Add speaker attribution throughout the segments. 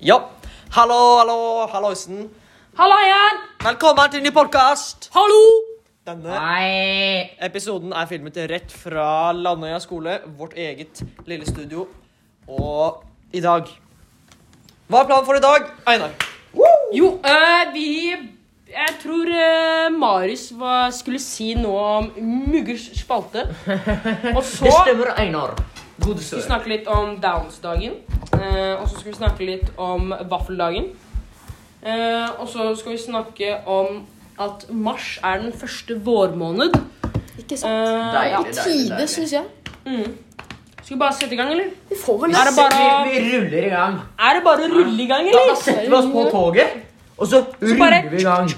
Speaker 1: Ja. Hallo, hallo, halloisen.
Speaker 2: Halla igjen!
Speaker 1: Velkommen til ny podkast.
Speaker 2: Hallo!
Speaker 1: Denne
Speaker 2: Nei
Speaker 1: episoden er filmet rett fra Landøya skole, vårt eget lille studio. Og i dag Hva er planen for i dag, Einar?
Speaker 2: Jo, øh, vi Jeg tror øh, Marius var, skulle si noe om Muggers spalte. Og så
Speaker 3: Det
Speaker 2: skulle
Speaker 3: stemmer, Einar.
Speaker 1: Gode
Speaker 2: vi snakke litt om Downs-dagen. øh, og så skulle vi snakke litt om vaffeldagen. Eh, og så skal vi snakke om at mars er den første vårmåned.
Speaker 4: Ikke
Speaker 2: Eh,
Speaker 4: sant?
Speaker 2: ja.
Speaker 3: deilig,
Speaker 4: På tide,
Speaker 3: deilig.
Speaker 4: syns jeg.
Speaker 2: Skal vi bare sette i gang, eller?
Speaker 4: Vi får vel
Speaker 2: Er det bare,
Speaker 3: Vi, vi ruller i gang.
Speaker 2: er det bare å rulle i gang,
Speaker 3: Da, da
Speaker 2: eller?
Speaker 3: setter vi oss på
Speaker 2: Mhm.
Speaker 3: toget, og så
Speaker 2: bare-
Speaker 3: ruller vi i gang.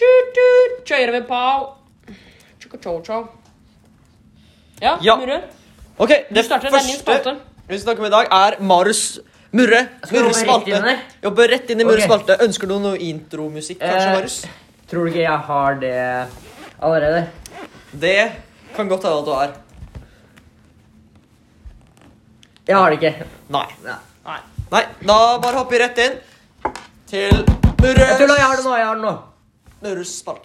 Speaker 2: Tut-tut, Kjører vi på Tjukka-tjau-tjau. Ja,
Speaker 1: Ja.
Speaker 2: Murre.
Speaker 1: Ok,
Speaker 2: Du
Speaker 1: det
Speaker 2: starter en ny spalte.
Speaker 1: første vi snakker om i dag, er Marius Murre.
Speaker 3: Skal vi
Speaker 1: Murres
Speaker 3: hoppe rett inn
Speaker 1: spalte.
Speaker 3: der?
Speaker 1: Jobber rett inn i Murres
Speaker 3: Ok.
Speaker 1: spalte. Ønsker du noe intromusikk, kanskje,
Speaker 3: Eh.
Speaker 1: Marius?
Speaker 3: Tror du ikke jeg har det allerede?
Speaker 1: Det kan godt hende at du har.
Speaker 3: Jeg har det ikke.
Speaker 1: Nei.
Speaker 3: Nei.
Speaker 1: Nei, da bare hopper vi rett inn til Murres
Speaker 3: Jeg tuller, jeg har det nå. jeg har det nå.
Speaker 1: Murres spalte.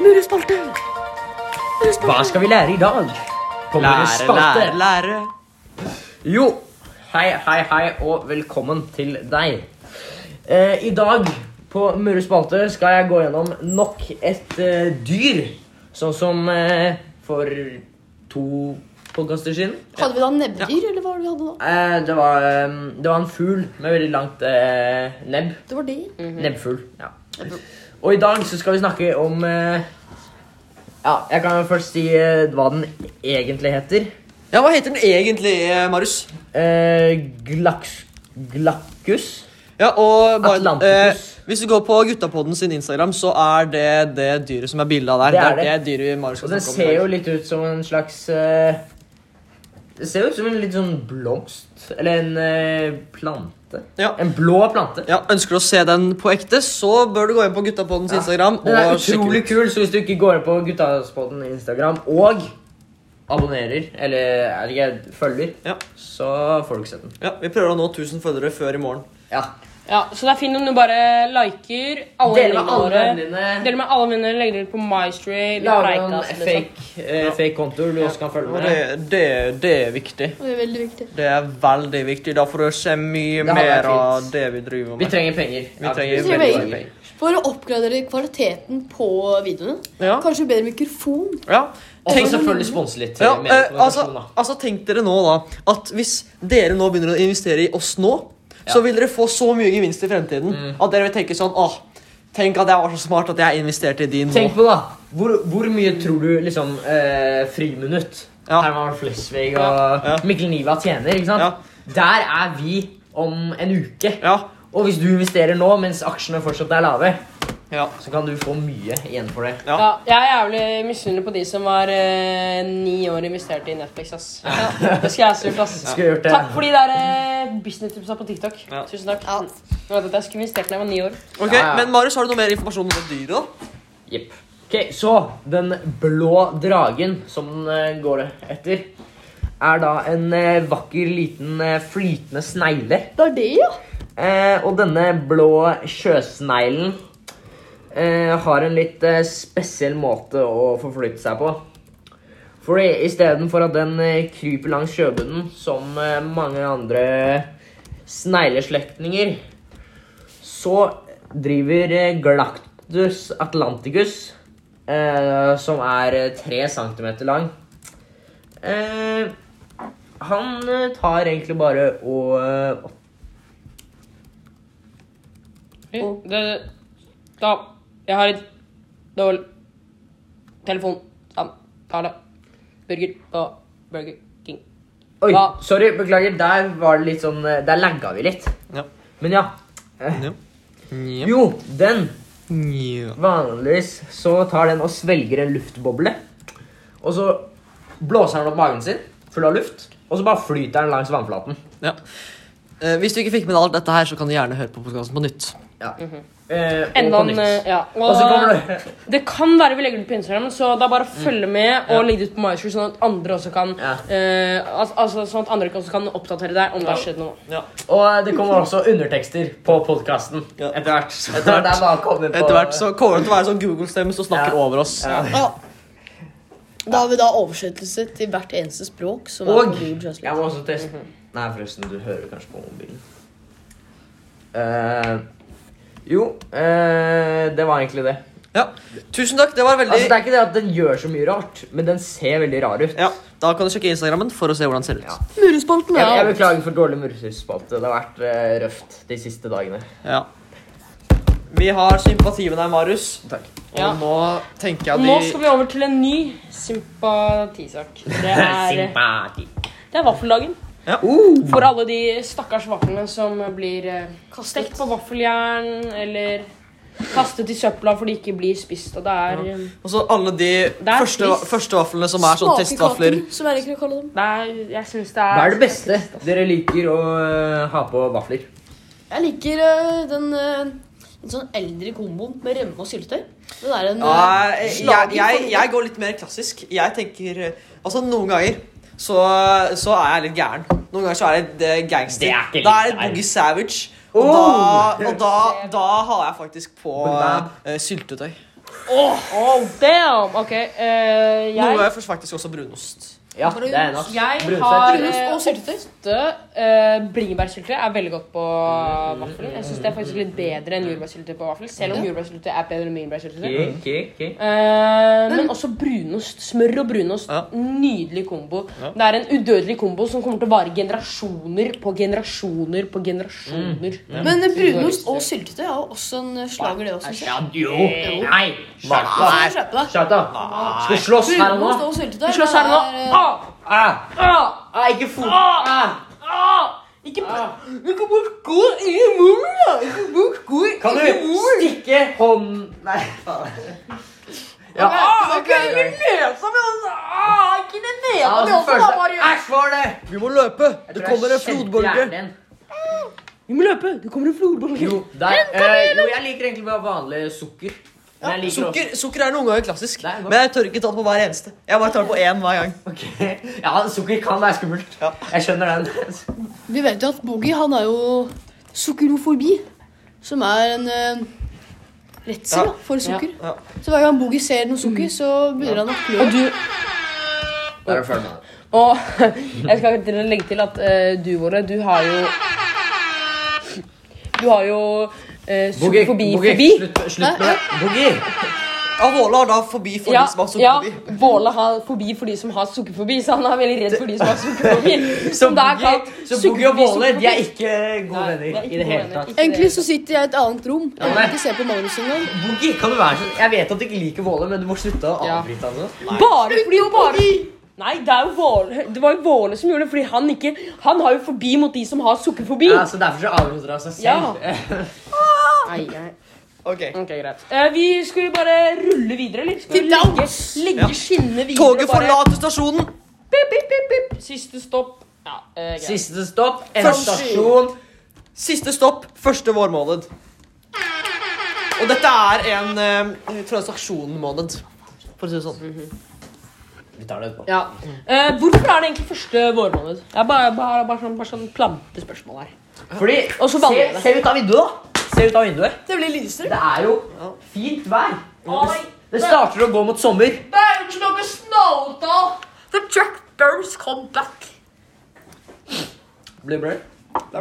Speaker 4: Murrespalte!
Speaker 3: Hva skal vi lære i dag? Kommer det spalte?
Speaker 1: lære.
Speaker 3: Jo, hei, hei, hei, og velkommen til deg. Eh, I dag på Murre spalte skal jeg gå gjennom nok et eh, dyr. Sånn som eh, for to podkaster siden.
Speaker 4: Hadde vi da nebbdyr, eller hva var det vi hadde da?
Speaker 3: Eh, det, var, eh, det var en fugl med veldig langt eh, nebb.
Speaker 4: Det var det.
Speaker 3: Nebbfugl. ja. Og i dag så skal vi snakke om eh, Ja, jeg kan jo først si eh, hva den egentlig heter.
Speaker 1: Ja, hva heter den egentlig, eh, Marius?
Speaker 3: Eh, glaks... Glakkus?
Speaker 1: Ja, og bare, eh,
Speaker 3: Atlanticus.
Speaker 1: Hvis du går på Guttapodden sin Instagram, så er det det dyret som er bildet av der.
Speaker 3: Det er
Speaker 1: det,
Speaker 3: det.
Speaker 1: dyret vi Marius
Speaker 3: Og
Speaker 1: skal
Speaker 3: den
Speaker 1: snakke om.
Speaker 3: ser
Speaker 1: i
Speaker 3: jo
Speaker 1: dag.
Speaker 3: litt ut som en slags eh, Det ser jo ut som en litt sånn blomst. Eller en eh, plante.
Speaker 1: Ja.
Speaker 3: En blå plante.
Speaker 1: Ja, Ønsker du å se den på ekte, så bør du gå inn på Guttapodden sin Instagram.
Speaker 3: Den er
Speaker 1: og sjekke
Speaker 3: utrolig
Speaker 1: ut.
Speaker 3: kul, så hvis du ikke går inn på Guttaspodden Instagram og abonnerer, eller er det ikke, følger,
Speaker 1: Ja.
Speaker 3: så får du ikke sett den.
Speaker 1: Ja, Vi prøver å nå 1000 følgere før i morgen.
Speaker 3: Ja.
Speaker 2: Ja, så det er fint om du bare liker alle
Speaker 3: Del med
Speaker 2: vennene
Speaker 3: alle
Speaker 2: våre.
Speaker 3: vennene dine.
Speaker 2: Del med alle vennene dine. Legg det ut på MyStray.
Speaker 3: Lage noen
Speaker 2: altså, liksom.
Speaker 3: fake, eh, fake kontoer du også kan følge
Speaker 1: Og
Speaker 3: med.
Speaker 1: det, det, det er viktig.
Speaker 4: Det er veldig viktig.
Speaker 1: Det er veldig viktig. Da får du se mye
Speaker 3: Det hadde vært
Speaker 1: mer av
Speaker 3: fint.
Speaker 1: det vi driver
Speaker 3: Vi
Speaker 1: med.
Speaker 3: trenger penger.
Speaker 1: Vi trenger
Speaker 3: Ja,
Speaker 4: veldig
Speaker 3: mye
Speaker 1: penger.
Speaker 4: For å oppgradere kvaliteten på videoene.
Speaker 1: Ja.
Speaker 4: Kanskje bedre mikrofon.
Speaker 1: Ja.
Speaker 3: Og
Speaker 1: Tenk-
Speaker 3: så selvfølgelig sponse litt.
Speaker 1: Ja,
Speaker 3: eh, med
Speaker 1: eh, altså,
Speaker 3: kommunikasjon, da.
Speaker 1: altså tenk dere nå da At hvis dere nå begynner å investere i oss nå Så
Speaker 3: Ja.
Speaker 1: vil dere få så mye gevinst i fremtiden At dere vil tenke sånn Åh, tenk at jeg var så smart at jeg investerte i din nå
Speaker 3: Tenk på da, hvor, hvor mye tror du liksom eh, friminutt
Speaker 1: Ja.
Speaker 3: Herman Flesvig og
Speaker 1: Ja.
Speaker 3: Mikkel Niva tjener, ikke sant?
Speaker 1: Ja.
Speaker 3: Der er vi om en uke.
Speaker 1: Ja,
Speaker 3: Og hvis du investerer nå mens aksjene fortsatt er lave,
Speaker 1: ja,
Speaker 3: så kan du få mye igjen for det.
Speaker 1: Ja.
Speaker 2: Ja, jeg er jævlig misunnelig på de som var eh, ni år investert i Netflix. ass. Det skal jeg også gjort. ass.
Speaker 3: Skulle gjort det.
Speaker 2: Takk for de der eh, business-tipsa på TikTok.
Speaker 1: Ja.
Speaker 2: Tusen takk.
Speaker 4: Ja.
Speaker 2: Jeg vet at jeg skulle investert da jeg var ni år.
Speaker 1: Ok,
Speaker 3: Ja, ja.
Speaker 1: men Marius, har du noe mer informasjon om det dyret da?
Speaker 3: Jepp. Ok, Så den blå dragen som den eh, går etter, er da en eh, vakker liten eh, flytende snegle.
Speaker 4: Det er det, ja.
Speaker 3: Eh, og denne blå sjøsneglen eh, har en litt eh, spesiell måte å forflytte seg på. Fordi istedenfor at den eh, kryper langs sjøbunnen som eh, mange andre snegleslektninger, så driver eh, Galactus atlanticus, eh, som er eh, tre centimeter lang eh, Han eh, tar egentlig bare og eh,
Speaker 2: Det, da, jeg har et dårlig telefonsamtale. Burger på Burger King.
Speaker 3: Oi,
Speaker 2: Ja.
Speaker 3: sorry, beklager. Der var det litt sånn eh, Der lagga vi litt.
Speaker 1: Ja,
Speaker 3: Men ja.
Speaker 1: ja. ja.
Speaker 3: Jo, den.
Speaker 1: ja.
Speaker 3: Vanligvis så tar den og svelger en luftboble. Og så blåser den opp magen sin full av luft, og så bare flyter den langs vannflaten.
Speaker 1: Eh, Hvis du ikke fikk med deg alt dette her, så kan du gjerne høre på podcasten på nytt
Speaker 3: Ja. Eh, og
Speaker 2: Enda
Speaker 3: på
Speaker 2: Mhm. en,
Speaker 3: nytt.
Speaker 2: eh, ja.
Speaker 3: Og så kommer
Speaker 2: Og
Speaker 3: det Mm.
Speaker 2: det kan være vi legger det ut på Instagram, så da bare følg med og
Speaker 3: Ja.
Speaker 2: legg det ut på MyStreet, sånn at andre også kan
Speaker 3: Ja.
Speaker 2: eh, al- altså sånn at andre også kan oppdatere deg om det har skjedd noe.
Speaker 1: Ja.
Speaker 3: Og det kommer også undertekster på podkasten
Speaker 1: Ja.
Speaker 3: etter hvert. Så
Speaker 1: Etter hvert.
Speaker 3: det er bare å komme på-
Speaker 1: Etter hvert så kommer det til å være sånn Google-stemme som snakker
Speaker 3: Ja.
Speaker 1: over oss.
Speaker 3: Ja.
Speaker 4: Ja. Da har vi da oversettelse til hvert eneste språk. Som er
Speaker 3: Og
Speaker 4: på Google Translate.
Speaker 3: jeg må også teste Nei, forresten, du hører kanskje på mobilen. Eh, jo, eh, det var egentlig det.
Speaker 1: Ja. Tusen takk, det var veldig
Speaker 3: Altså, Det er ikke det at den gjør så mye rart, men den ser veldig rar ut.
Speaker 1: Ja, Da kan du sjekke Instagrammen for å se hvordan den ser ut.
Speaker 3: Ja.
Speaker 4: Murespalten
Speaker 3: Jeg, jeg
Speaker 4: er
Speaker 3: beklager for dårlig mursusspalte. Det har vært eh, røft de siste dagene.
Speaker 1: Ja. Vi har sympati med deg, Marius.
Speaker 3: Takk.
Speaker 1: Og
Speaker 2: Ja.
Speaker 1: nå tenker jeg
Speaker 2: Nå
Speaker 1: at
Speaker 2: skal
Speaker 1: de
Speaker 2: vi over til en ny sympatisak. Det er,
Speaker 3: Sympati.
Speaker 2: det er vaffeldagen.
Speaker 3: Uh,
Speaker 2: For alle de stakkars vaflene som blir eh, stekt på vaffeljern eller kastet i søpla fordi de ikke blir spist. Og det er, eh,
Speaker 1: Og så alle de
Speaker 2: er
Speaker 1: første,
Speaker 2: trist.
Speaker 1: første vaflene som er sånn testvafler.
Speaker 4: Smakekaker, som jeg liker å kalle dem.
Speaker 2: det er Jeg syns det er
Speaker 3: hva er det beste dere liker å eh, ha på vafler?
Speaker 4: Jeg liker øh, den øh, en sånn eldre komboen med rømme og syltetøy. Den er en
Speaker 1: Ja,
Speaker 4: øh,
Speaker 1: jeg,
Speaker 4: slager
Speaker 1: jeg,
Speaker 4: for-
Speaker 1: jeg går litt mer klassisk. Jeg tenker eh, Altså, noen ganger så, så er jeg litt gæren. Noen ganger så er det eh, gangster.
Speaker 3: Det er ikke litt
Speaker 1: da er det
Speaker 3: gæren.
Speaker 1: Boogie Savage. Og,
Speaker 3: Oh!
Speaker 1: da, og da, da har jeg faktisk på
Speaker 3: Bam.
Speaker 1: eh, syltetøy.
Speaker 2: Oh, damn! Ok, eh,
Speaker 1: Noen
Speaker 2: jeg,
Speaker 1: ganger får faktisk også brunost.
Speaker 3: Ja, det er nok.
Speaker 2: jeg
Speaker 3: Brunost.
Speaker 2: har
Speaker 4: Brunost
Speaker 2: eh,
Speaker 4: og syltetøy.
Speaker 2: ofte eh, bringebærsyltetøy er veldig godt på vaffel. Jeg syns det er faktisk litt bedre enn jordbærsyltetøy på vaffel. Selv om jordbærsyltetøy er bedre enn bringebærsyltetøy.
Speaker 3: Ok, ok, ok.
Speaker 2: Eh, men også brunost. Smør og brunost.
Speaker 1: Ja.
Speaker 2: Nydelig kombo. Det er en udødelig kombo som kommer til å vare generasjoner på generasjoner på generasjoner.
Speaker 3: Mm,
Speaker 4: Men øh, brunost og syltetøy er jo også en øh, slager, det også. synes jeg.
Speaker 3: Ja, jo. Nei. Slapp
Speaker 4: Så
Speaker 3: av.
Speaker 4: skjerp deg.
Speaker 3: Slapp av. Skal vi slåss her og
Speaker 4: Brunost
Speaker 3: nå?
Speaker 4: og syltetøy.
Speaker 2: Vi slåss her nå.
Speaker 4: det er, øh,
Speaker 2: Ah!
Speaker 3: Ah,
Speaker 2: Ah!
Speaker 3: ah, ikke fot. Ah.
Speaker 2: Ah! Ikke Ikke bruk sko i munnen, da! Ikke bruk sko i
Speaker 3: Kan du stikke hånden Nei, faen. Ja.
Speaker 2: Ah, ikke den nesa mi, altså! Ah, ikke den nesa
Speaker 3: Ja,
Speaker 2: mi
Speaker 3: altså,
Speaker 2: også, da,
Speaker 3: første
Speaker 2: Marius!
Speaker 3: Æsj, hva var det?
Speaker 1: Vi må løpe!
Speaker 3: Jeg
Speaker 1: Det
Speaker 3: tror
Speaker 1: kommer
Speaker 3: jeg
Speaker 1: en
Speaker 3: kjente
Speaker 1: flodbølge.
Speaker 3: hjernen.
Speaker 2: Vi må løpe! Det kommer en flodbølge.
Speaker 3: Jo, der, eh, jo, jeg liker egentlig bare vanlig sukker. Men jeg liker
Speaker 1: Sukker, sukker er noen ganger klassisk,
Speaker 3: Nei, nå-
Speaker 1: men jeg tør ikke ta det på hver eneste. Jeg bare tar det på én hver gang.
Speaker 3: også Ok. Ja, sukker kan være skummelt.
Speaker 1: Ja.
Speaker 3: Jeg skjønner den.
Speaker 4: Vi vet jo at Boogie han er jo sukkerofobi, som er en øh, redsel
Speaker 1: Ja.
Speaker 4: da, for sukker.
Speaker 1: Ja. Mm.
Speaker 4: Så hver gang Boogie ser noe sukker, så begynner han å klø.
Speaker 2: Og du
Speaker 3: Der er følelsen av det.
Speaker 2: Og jeg skal til å legge til at eh, du, Våre, du har jo Du har jo uh,
Speaker 3: Boogie,
Speaker 2: forbi
Speaker 3: Boogie,
Speaker 2: forbi.
Speaker 3: Slutt, slutt med det. Boogie.
Speaker 1: Ja, Våle har da forbi for
Speaker 2: Ja,
Speaker 1: de som har
Speaker 2: ja,
Speaker 1: sukkerforbi.
Speaker 2: Våle har forbi for de som har sukkerforbi, så han er veldig redd for de som har sukkerforbi.
Speaker 3: Så
Speaker 2: som da er kalt
Speaker 3: Boogie, så Boogie og
Speaker 2: sukkerforbi,
Speaker 3: Båle de
Speaker 2: sukkerforbi.
Speaker 3: er ikke gode
Speaker 2: Nei, det er
Speaker 3: venner
Speaker 2: ikke
Speaker 3: i det
Speaker 2: gode
Speaker 3: hele
Speaker 2: venner,
Speaker 3: tatt.
Speaker 2: ikke det
Speaker 4: Egentlig så sitter jeg i et annet rom. Jeg
Speaker 3: men-
Speaker 4: vil ikke se på Magnus engang.
Speaker 3: Boogie, kan du være sånn Jeg vet at du ikke liker Våle, men du må slutte å
Speaker 2: Ja.
Speaker 3: avbryte. Altså.
Speaker 2: Bare fordi jo bare Nei, det, er jo Våle, det var jo Våle som gjorde det, fordi han ikke Han har jo forbi mot de som har sukkerforbi.
Speaker 3: Ja, så Derfor så avbryter han seg selv.
Speaker 2: Nei, nei.
Speaker 1: Ok.
Speaker 2: Ok, greit. Eh, vi skulle bare rulle videre, eller? Skal vi
Speaker 4: Til
Speaker 2: legge,
Speaker 4: dans!
Speaker 2: legge skinnene videre? og
Speaker 1: Toget
Speaker 2: bare-
Speaker 1: forlater stasjonen.
Speaker 2: Pip, pip, pip, pip. Siste stopp. Ja, eh, greit.
Speaker 3: Siste stopp, en
Speaker 1: Første.
Speaker 3: stasjon.
Speaker 1: Siste stopp, første vårmåned. Og dette er en eh, transaksjonmåned, for å si det sånn.
Speaker 3: Vi tar det etterpå.
Speaker 2: Ja. Eh, hvorfor er det egentlig første vårmåned? Det er bare, bare, bare, sånn, bare sånn plantespørsmål her.
Speaker 3: Fordi,
Speaker 2: Og så banner
Speaker 3: se,
Speaker 2: jeg det.
Speaker 3: se ut av vinduet, da. Se ut av vinduet.
Speaker 4: Det blir lysere.
Speaker 3: Det er jo fint vær.
Speaker 2: Oi,
Speaker 3: Det starter å gå mot sommer.
Speaker 2: det er jo ikke noe snø da! The tractors come back.
Speaker 3: Blir blø.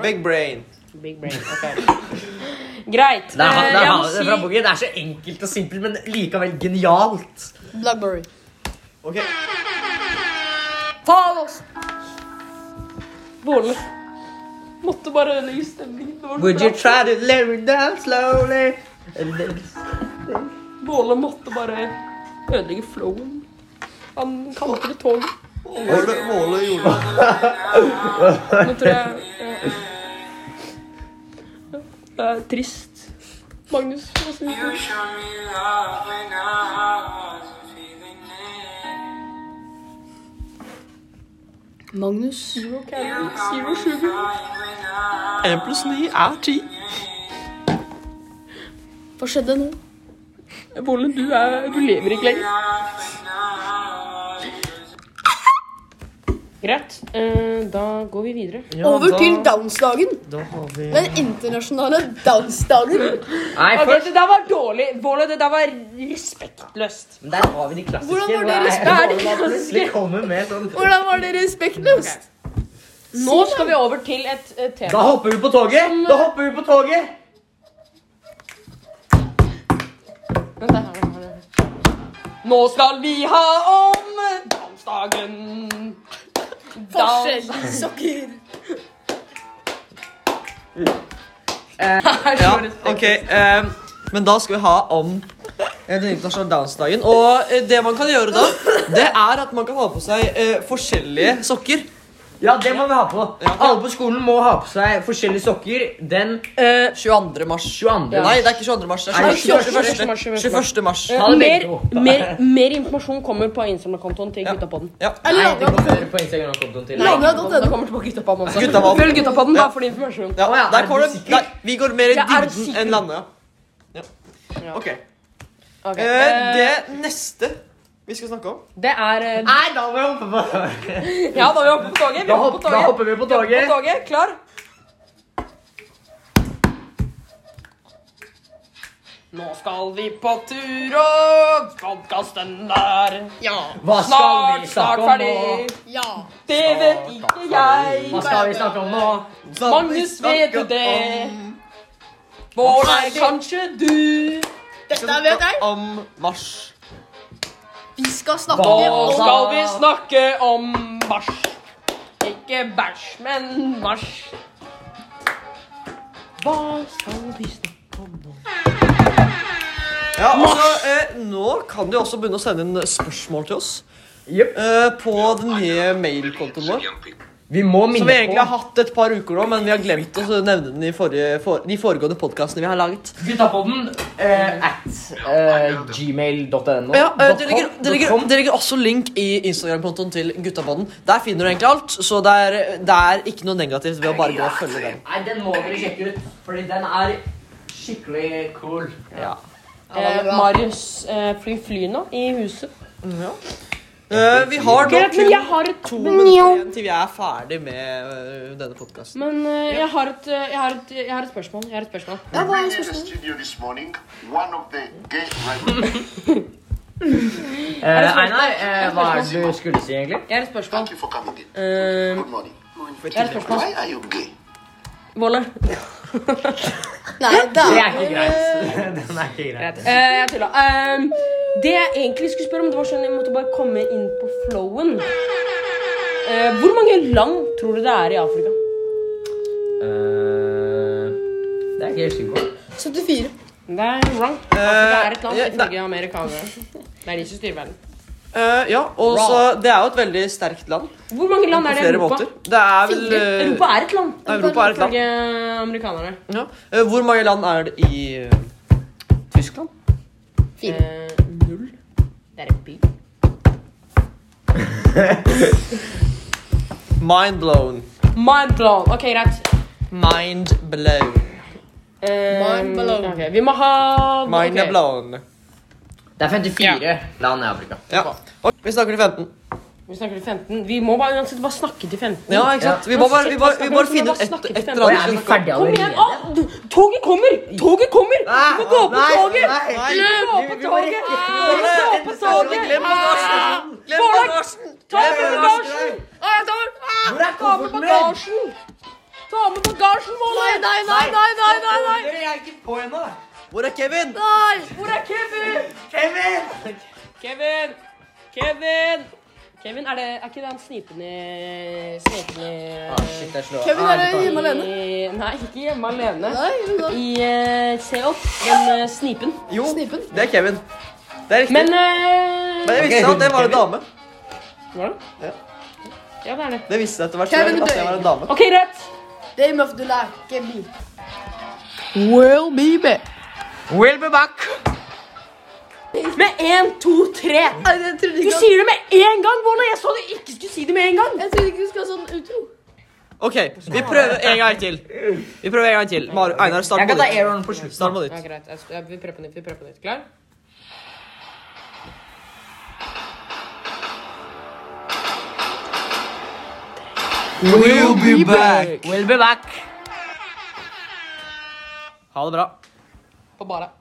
Speaker 1: Big brain.
Speaker 2: Big brain, ok. greit.
Speaker 3: Det er, han-
Speaker 2: Eh,
Speaker 3: det, er,
Speaker 2: jeg må
Speaker 3: han- det, er fra
Speaker 2: si-
Speaker 3: Boogie. det er så enkelt og simpelt, men likevel genialt.
Speaker 4: Blackberry.
Speaker 1: Ok.
Speaker 2: Faen, altså! Våle. Måtte bare ødelegge stemningen. Det var så
Speaker 3: Would
Speaker 2: bra.
Speaker 3: you try to let me down slowly?
Speaker 2: Våle måtte bare ødelegge flowen. Han kalte det tog.
Speaker 1: Måle, måle gjorde det.
Speaker 2: Nå tror jeg ja. Ja, Det er trist. Magnus, hva syns
Speaker 5: You
Speaker 2: du?
Speaker 5: show me love when I wasn't feeling it.
Speaker 4: Magnus.
Speaker 2: Zero calorie, zero sugar.
Speaker 5: Lying when I
Speaker 1: Én pluss ni er ti.
Speaker 5: wasn't.
Speaker 4: Hva skjedde nå?
Speaker 2: Bolle, du, er, du lever ikke lenger. Greit. eh, da går vi videre.
Speaker 4: Over til dansdagen.
Speaker 1: Da har vi
Speaker 4: Den internasjonale dansdagen.
Speaker 3: Nei,
Speaker 2: Ok,
Speaker 3: først
Speaker 2: det der var dårlig. Bolle, det der var respektløst.
Speaker 3: Men der har vi de klassiske.
Speaker 4: Hvordan var
Speaker 3: hvor
Speaker 4: det
Speaker 3: jeg-
Speaker 2: respekt?
Speaker 3: hvor man plutselig kommer med sånn
Speaker 4: Hvordan var det respektløst?
Speaker 2: Nå skal vi over til et, eh,
Speaker 3: Da
Speaker 2: tema.
Speaker 3: hopper vi på toget! Da hopper vi på toget!
Speaker 2: Vent da, her, her, her. Nå skal vi ha om dansdagen. Dans-
Speaker 4: Forskjell. Sokker.
Speaker 2: Eh, Her
Speaker 1: Ja,
Speaker 2: står det
Speaker 1: ok. ehm, men da skal vi ha om eh, den internasjonale dansdagen. Og eh, det man kan gjøre da, det er at man kan ha på seg eh, forskjellige sokker.
Speaker 3: Ja, det må vi ha på. Alle på skolen må ha på seg forskjellige sokker den
Speaker 1: 22. mars.
Speaker 3: 22.
Speaker 1: Nei, det er ikke 22. mars.
Speaker 3: Nei,
Speaker 1: Det er
Speaker 3: 21.
Speaker 1: 21.
Speaker 2: mars,
Speaker 1: mars.
Speaker 2: 21.
Speaker 1: 21. mars.
Speaker 2: Eh,
Speaker 3: Ta det
Speaker 2: mer,
Speaker 3: begge to.
Speaker 2: mer, mer informasjon kommer på Instagram-kontoen til gutta på den.
Speaker 1: Ja.
Speaker 3: Nei,
Speaker 4: Eller
Speaker 3: det
Speaker 4: noe.
Speaker 3: kommer på Instagram-kontoen til.
Speaker 4: Nei.
Speaker 2: Det
Speaker 4: Lagra.no.
Speaker 2: kommer til på gutta på den også.
Speaker 1: Gutta på den.
Speaker 2: Følg gutta på den,
Speaker 1: Ja.
Speaker 2: bare for din informasjon.
Speaker 1: Ja,
Speaker 3: Å ja, er
Speaker 1: der
Speaker 3: du
Speaker 1: går det,
Speaker 3: sikker?
Speaker 1: der, vi går mer i
Speaker 2: Jeg er
Speaker 1: dybden
Speaker 2: sikker.
Speaker 1: enn landet. Ja.
Speaker 2: Ja.
Speaker 1: Ok.
Speaker 2: Ok,
Speaker 1: Eh,
Speaker 2: eh,
Speaker 1: det neste vi skal snakke om
Speaker 2: det er eh,
Speaker 3: Nei, da må vi hoppe på toget.
Speaker 2: Ja, da er vi oppe på toget. Vi
Speaker 3: Da,
Speaker 2: er oppe
Speaker 3: hopp,
Speaker 2: på
Speaker 3: da
Speaker 2: toget.
Speaker 3: hopper vi på
Speaker 2: På
Speaker 3: toget.
Speaker 2: toget, Klar? Nå skal vi på tur, og podkasten er ja.
Speaker 3: Hva skal
Speaker 2: snart, snart
Speaker 3: vi snakke om
Speaker 2: ferdig.
Speaker 3: nå?
Speaker 4: Ja.
Speaker 2: Det vet ikke
Speaker 3: Hva
Speaker 2: jeg.
Speaker 3: skal vi snakke om nå?
Speaker 2: Magnus, vet du det? Bård er kanskje du.
Speaker 4: Dette vet jeg.
Speaker 1: om mars.
Speaker 4: Vi skal snakke
Speaker 2: Nå
Speaker 3: Hva
Speaker 4: om
Speaker 2: skal vi snakke om mars. Ikke bæsj, men mars. Hva skal vi snakke
Speaker 1: Ja, altså, eh, nå kan du også begynne å sende inn spørsmål til oss
Speaker 3: Jep.
Speaker 1: eh, på den nye mailkontoen vår.
Speaker 3: Vi må minne
Speaker 1: Som vi egentlig har
Speaker 3: på
Speaker 1: hatt et par uker nå, men vi har glemt å nevne den i forrige, for, de foregående podkastene vi har laget.
Speaker 3: Gutta på den eh, at eh, gmail.no.
Speaker 1: Ja, eh, det, ligger, det, ligger, det ligger også link i Instagram-kontoen til Guttapodden. Der finner du egentlig alt, så det er, det er ikke noe negativt ved å bare gå og følge den.
Speaker 3: Nei, den må dere sjekke ut, fordi den er skikkelig cool.
Speaker 1: Ja.
Speaker 2: Eh,
Speaker 4: bra.
Speaker 2: Marius eh, fly fly nå i huset.
Speaker 1: Eh, vi har nå
Speaker 2: Greit, men
Speaker 1: kun
Speaker 2: jeg har et
Speaker 1: to minutter igjen til vi er ferdig med eh, denne podkasten.
Speaker 2: Men eh, jeg, har et, eh, jeg, har et, jeg har et spørsmål. Jeg har et spørsmål.
Speaker 4: Ja, hva er
Speaker 5: In the
Speaker 4: spørsmålet?
Speaker 5: studio this morning, one of the gay writers
Speaker 3: Eh, Einar, eh, hva er det du skulle si, egentlig?
Speaker 2: Jeg har et spørsmål.
Speaker 5: Thank you for coming in.
Speaker 2: Eh,
Speaker 5: Good morning.
Speaker 2: jeg har et spørsmål.
Speaker 5: Why are you gay?
Speaker 2: Volle.
Speaker 4: Nei, det
Speaker 3: Det
Speaker 4: er
Speaker 3: er ikke greit. Den er ikke greit.
Speaker 2: Eh, jeg tulla. Eh, det jeg egentlig skulle spørre om, det var sånn jeg måtte bare komme inn på flowen. Eh, hvor mange land tror du det er i Afrika?
Speaker 3: Eh, det er jeg ikke helt sikker på.
Speaker 4: 74.
Speaker 2: Det er wrong. Afrika er et
Speaker 1: Eh, ja,
Speaker 2: land ifølge amerikanere. Det er de som styrer verden.
Speaker 1: Eh, ja, og så Det er jo et veldig sterkt land
Speaker 2: Hvor mange land
Speaker 1: på
Speaker 2: er det i
Speaker 1: flere
Speaker 2: Europa?
Speaker 1: måter. Det er vel
Speaker 2: Fire.
Speaker 1: eh,
Speaker 2: Europa er et land.
Speaker 1: Europa er et land.
Speaker 2: Ifølge amerikanerne.
Speaker 1: ja. Eh, Hvor mange land er det i eh, Tyskland?
Speaker 4: Fire.
Speaker 2: Eh, null. Det er en by.
Speaker 1: Mind blown.
Speaker 2: Mind blown. Ok, greit.
Speaker 1: Mind blown.
Speaker 2: Eh,
Speaker 4: Mind blown.
Speaker 2: ok, vi må ha
Speaker 1: Mind
Speaker 2: ok.
Speaker 1: blown.
Speaker 3: Det er 54 land i Afrika.
Speaker 1: Ja. Og vi snakker til 15.
Speaker 2: Vi snakker til 15. Vi må bare, uansett bare snakke til 15.
Speaker 1: Ja, ikke sant? Vi må bare, vi bare, vi bare finne ut et, et eller
Speaker 3: Oi,
Speaker 1: annet.
Speaker 3: er
Speaker 1: vi
Speaker 3: vi
Speaker 1: skal snakke om.
Speaker 3: ferdige
Speaker 2: Kom igjen!
Speaker 3: allerede? Ah,
Speaker 2: Ah, du- toget kommer! Toget kommer! Du må gå på toget!
Speaker 1: Ah, Nei,
Speaker 2: Du må gå
Speaker 1: vi- vi
Speaker 2: på
Speaker 1: må
Speaker 2: toget!
Speaker 1: rekke-
Speaker 2: Ah,
Speaker 1: Ole,
Speaker 2: Du må på toget!
Speaker 1: Glem
Speaker 2: Ah,
Speaker 1: bagasjen! Glem
Speaker 2: Bård,
Speaker 1: bagasjen!
Speaker 2: Ta med
Speaker 1: Glem
Speaker 2: bagasjen! Ah, jeg tar- ah,
Speaker 3: Hvor
Speaker 2: Ta
Speaker 3: er
Speaker 2: med
Speaker 3: kofferten min?
Speaker 2: bagasjen! Ta med bagasjen, Molle!
Speaker 4: Nei, nei, nei, nei, nei, nei, nei.
Speaker 3: Dere, jeg er ikke på ennå.
Speaker 1: Hvor er Kevin?
Speaker 4: nei.
Speaker 2: Hvor er Kevin?
Speaker 3: Kevin!
Speaker 2: Kevin! Kevin! Kevin, er, det, er ikke det han snipen i Snipen i
Speaker 3: Ah, shit, jeg slår.
Speaker 4: Kevin,
Speaker 3: Ah,
Speaker 4: er
Speaker 3: du tar-
Speaker 4: det hjemme alene?
Speaker 2: i- Nei, ikke hjemme alene.
Speaker 4: Nei, men da.
Speaker 2: I eh, Se opp, den eh, snipen.
Speaker 1: Jo,
Speaker 4: Snipen.
Speaker 1: det er Kevin. Det er riktig.
Speaker 2: Men
Speaker 1: Men,
Speaker 2: eh,
Speaker 1: jeg visste at det var en dame.
Speaker 2: Var det?
Speaker 1: Ja.
Speaker 2: Ja, det er det.
Speaker 1: Det visste jeg etter hvert.
Speaker 4: Kevin
Speaker 1: At det var en dame.
Speaker 2: OK, rett.
Speaker 4: Dame of the Lack me. Well, baby.
Speaker 3: We'll be back.
Speaker 2: Med én, to, tre.
Speaker 4: Nei, jeg trodde
Speaker 2: Du
Speaker 4: ikke at-
Speaker 2: sier det med én gang, Bolle. Jeg sa du ikke skulle si det med en gang.
Speaker 4: Jeg trodde ikke du skulle ha sånn utro.
Speaker 1: OK, vi prøver en gang til. Vi prøver en gang til. Mar Einar, start
Speaker 3: Jeg
Speaker 1: på
Speaker 3: kan ta
Speaker 1: nytt.
Speaker 3: airhorn på slutten.
Speaker 1: Start på
Speaker 2: Ja,
Speaker 1: nytt.
Speaker 2: greit. Jeg, jeg, vi prøver på nytt. Vi prøver på nytt. Klar?
Speaker 1: We'll be back.
Speaker 3: We'll be back.
Speaker 1: Ha det bra.
Speaker 2: På bare.